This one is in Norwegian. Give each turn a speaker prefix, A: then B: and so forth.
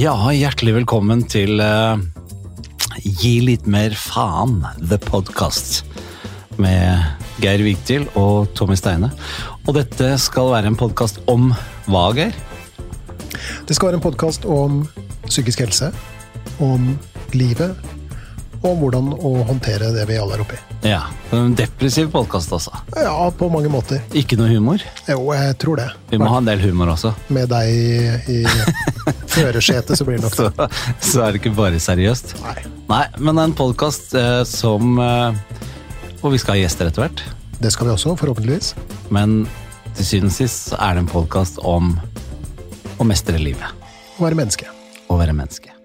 A: Ja, hjertelig velkommen til eh, Gi litt mer faen, the podcast. Med Geir Vigtil og Tommy Steine. Og dette skal være en podkast om hva, Geir?
B: Det skal være en podkast om psykisk helse, om livet, og om hvordan å håndtere det vi alle er oppi.
A: Ja, En depressiv podkast, altså.
B: Ja, på mange måter.
A: Ikke noe humor.
B: Jo, jeg tror det.
A: Vi må ha en del humor også.
B: Med deg i førersetet, så blir det nok det.
A: Så, så er det ikke bare seriøst.
B: Nei,
A: Nei, men det er en podkast eh, som eh, Og vi skal ha gjester etter hvert.
B: det skal vi også, forhåpentligvis.
A: Men til syvende og sist så er det en podkast om å mestre livet.
B: Å være menneske.
A: å være menneske.